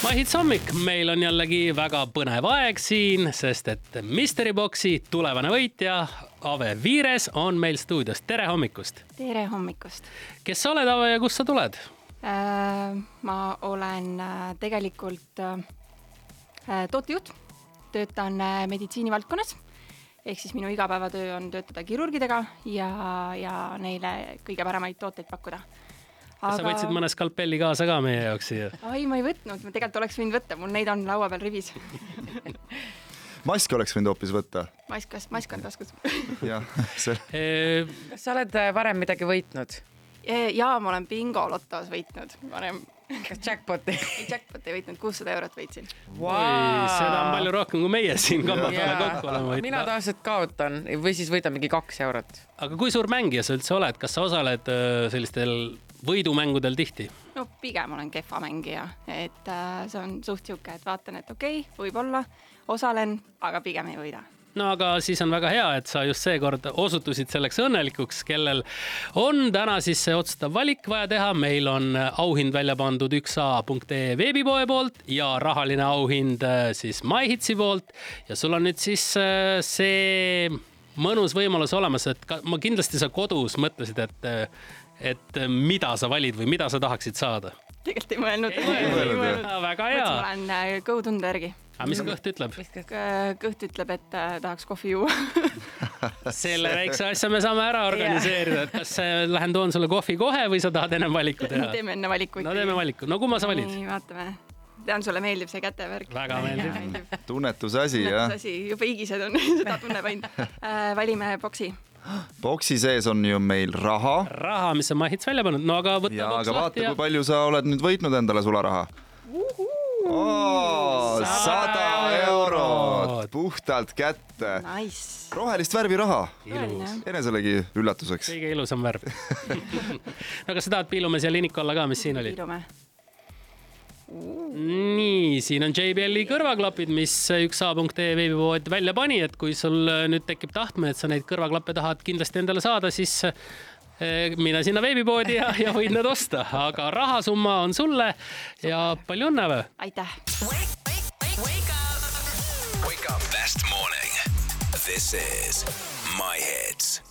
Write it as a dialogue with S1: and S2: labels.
S1: Mahits hommik, meil on jällegi väga põnev aeg siin, sest et Mystery Boxi tulevane võitja Ave Viires on meil stuudios, tere hommikust.
S2: tere hommikust
S1: kes sa oled, Ave ja kust sa tuled?
S2: äh, . ma olen äh, tegelikult äh, äh, tootejuht , töötan äh, meditsiinivaldkonnas ehk siis minu igapäevatöö on töötada kirurgidega ja , ja neile kõige paremaid tooteid pakkuda .
S1: kas sa võtsid mõne skalpelli kaasa ka meie jaoks siia ?
S2: ai , ma ei võtnud , ma tegelikult oleks võinud võtta , mul neid on laua peal rivis .
S3: maski oleks võinud hoopis võtta .
S2: mask , mask on taskus .
S3: jah , see ,
S1: E,
S4: kas sa oled äh, varem midagi võitnud ?
S2: ja ma olen bingolotos võitnud varem ,
S4: kas jackpot'i ?
S2: jackpot'i võitnud , kuussada eurot võitsin .
S1: seda on palju rohkem kui meie siin kamba peale kokku oleme
S4: mina
S1: võitnud .
S4: tavaliselt kaotan või siis võidan mingi kaks eurot .
S1: aga kui suur mängija sa üldse oled , kas sa osaled öö, sellistel võidumängudel tihti ?
S2: no pigem olen kehva mängija , et äh, see on suht sihuke , et vaatan , et okei okay, , võib-olla osalen , aga pigem ei võida .
S1: no aga siis on väga hea , et sa just seekord osutusid selleks õnnelikuks , kellel on täna siis see otsustav valik vaja teha . meil on auhind välja pandud 1A.ee veebipoe poolt ja rahaline auhind eh, siis MyHitsi poolt ja sul on nüüd siis eh, see mõnus võimalus olemas , et ka, ma kindlasti sa kodus mõtlesid , et , et mida sa valid või mida sa tahaksid saada .
S2: tegelikult ei mõelnud .
S3: mõelnud, jah.
S1: väga
S2: ma
S1: hea ,
S2: olen äh, kõhutunde järgi .
S1: aga mis kõht ütleb ?
S2: kõht ütleb , et äh, tahaks kohvi juua .
S1: selle väikse asja me saame ära organiseerida , et kas äh, lähen toon sulle kohvi kohe või sa tahad ennem valiku teha ?
S2: teeme enne valikuid .
S1: no teeme valiku , no kumma sa valid ?
S2: nii , vaatame . tean , sulle meeldib see kätevärk .
S1: Väga meeldib. .
S3: tunnetuse asi jah .
S2: asi , jube hiigised on , seda tunneb ainult äh, . valime boksi .
S3: boksi sees on ju meil raha
S1: raha , mis on Mahits välja pannud , no aga võta
S3: ja ,
S1: boks
S3: aga
S1: lahti
S3: vaata ,
S1: ja
S3: kui . palju sa oled nüüd võitnud endale sularaha . sada eurot puhtalt kätte ,
S2: Nice .
S3: rohelist värvi raha ,
S1: ilus ,
S3: eneselegi üllatuseks .
S1: kõige ilusam värv . no kas sa tahad , piilume siia liniku alla ka , mis siin oli ?
S2: piilume .
S1: nii , siin on JBL-i kõrvaklapid , mis 1A.ee E veebipood välja pani , et kui sul nüüd tekib tahtmine , et sa neid kõrvaklappe tahad kindlasti endale saada , siis eh, mine sinna veebipoodi ja , ja võid need osta , aga rahasumma on sulle ja palju õnne või ?
S2: aitäh .
S5: Wake, wake, wake, wake up. Wake up. Best morning. This is My Hits.